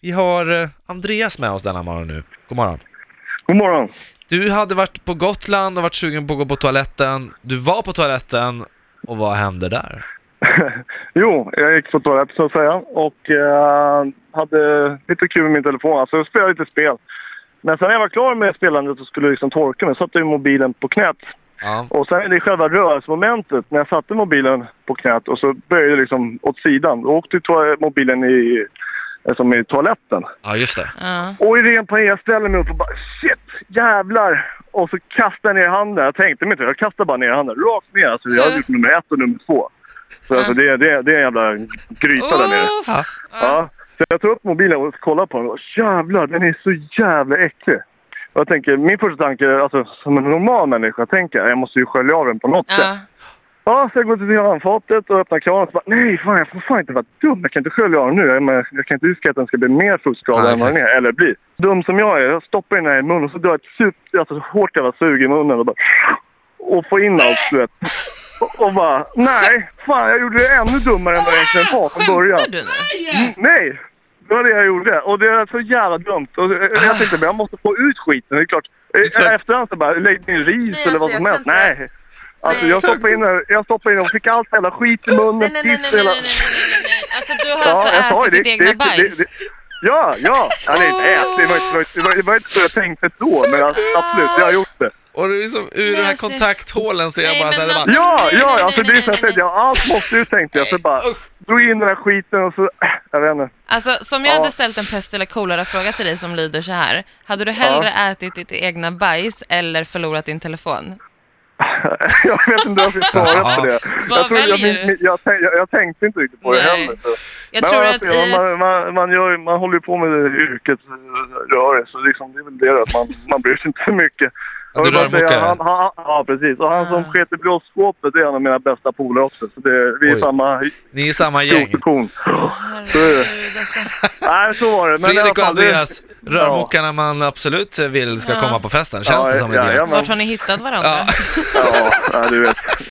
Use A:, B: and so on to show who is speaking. A: Vi har eh, Andreas med oss denna morgon nu. God morgon.
B: God morgon.
A: Du hade varit på Gotland och varit sugen på att gå på toaletten. Du var på toaletten och vad hände där?
B: Jo, jag gick på toalett så att säga och eh, hade lite kul med min telefon. Alltså jag spelade lite spel. Men sen när jag var klar med spelandet och skulle liksom torka mig så satte jag mobilen på knät.
A: Ja,
B: Och sen är det själva rörelsemomentet när jag satte mobilen på knät och så böjde jag liksom åt sidan. Då åkte ju toa- mobilen i, eh, som i toaletten.
A: ja just det.
C: Ja.
B: Och i ren panik, jag ställer mig upp och bara shit, jävlar! Och så kastar jag ner handen. Jag tänkte mig inte, jag kastade bara ner handen. Rakt ner. Alltså, jag hade gjort nummer ett och nummer två. Så alltså, det, det, det är en jävla gryta där nere.
C: Uff!
A: Ja.
C: Ja.
B: Ja. Så jag tar upp mobilen och kollar på den och jävlar, den är så jävla äcklig. Och jag tänker, min första tanke, alltså som en normal människa, tänker jag, jag måste ju skölja av den på något sätt.
C: Ja.
B: Ja, så jag går till handfatet och öppnar kranen och så bara nej, fan jag får fan inte vara dum. Jag kan inte skölja av den nu. Jag, men, jag kan inte riskera att den ska bli mer fullskadad
A: Nej,
B: än vad den är, eller blir. Dum som jag är, jag stoppar in den här i munnen och så drar jag ett sup, alltså, hårt jävla sug i munnen och bara och får in allt, du vet. Och, och bara nej, fan jag gjorde det ännu dummare än vad jag egentligen var från början.
C: Skämtar du nu?
B: Mm, Nej! Det var det jag gjorde. Och det är så jävla dumt. Och jag- jag tänkte men jag måste få ut skiten. Det är klart.
A: Exakt.
B: Efterhand så bara, lägg din ris
D: Nej,
B: eller vad
D: alltså,
B: som
D: jag
B: helst.
D: kan inte-
B: Nej. Alltså
D: Nej.
B: jag stoppade in den- jag stoppade in den och fick allt jävla skit i
C: Nej,
B: munnen,
C: nej, nej, nej,
B: piss
C: nej,
B: hela...
C: nej, nej, nej. Alltså du har
B: Ja, jag
C: alltså
B: sa ju
C: ätit
B: det.
C: ditt egna
B: det, det,
C: bajs?
B: det, Ja, ja! Eller inte ätit, det var inte- det var inte- det var- det var inte så jag tänkte då, men alltså, absolut, jag har gjort det.
C: Alltså,
A: Och det är liksom, ur
C: Men
A: den här
C: alltså-
A: kontakthålen ser jag
C: Nej,
A: bara
C: men
A: såhär, det
C: alltså-
A: bara...
B: Ja,
C: Nej,
B: ja,
C: nej,
B: alltså det
C: nej,
B: är så
C: nej,
B: jag tänkte, jag har allt måste ut tänkte jag. Så bara, drog in den här skiten och så, äh, jag vet inte.
C: Alltså som jag
B: Ja.
C: hade ställt en pest eller kolera-fråga till dig som lyder så här. Hade du hellre ätit ditt egna bajs eller förlorat din telefon?
B: Jag vet inte om jag ska svara på det.
C: Vad
B: Jag, tror, jag,
C: väljer
B: min- min- jag, tänk- jag, jag tänkte inte riktigt på det
C: Nej.
B: heller. så.
C: Jag
B: Men
C: tror
B: alltså,
C: att i ett...
B: man, man, man, gör, ju- man håller ju på med det yrket eh, rör det, så liksom, det är väl det då, att man, man bryr sig inte så mycket.
A: Ja, du
B: Jag vill bara
A: rörmokare.
B: säga, han, han, ja, precis. Och han som
C: Ah.
B: sket i blåsskåpet det är en av mina bästa polare också. Så det, vi är
A: Oj.
B: samma
A: Ni är samma gäng.
B: jordsektion.
C: Herregud, alltså.
B: Nej, så var det. Men i alla
A: Fredrik och
B: fall, det-
A: Andreas, rörmokarna man absolut vill ska
C: Ja.
A: komma på festen, känns
B: Ja,
A: det som lite
B: ja,
A: grann.
B: ja.
C: Vart har ni hittat varandra?
A: Ja.
B: Ja, ja, du vet.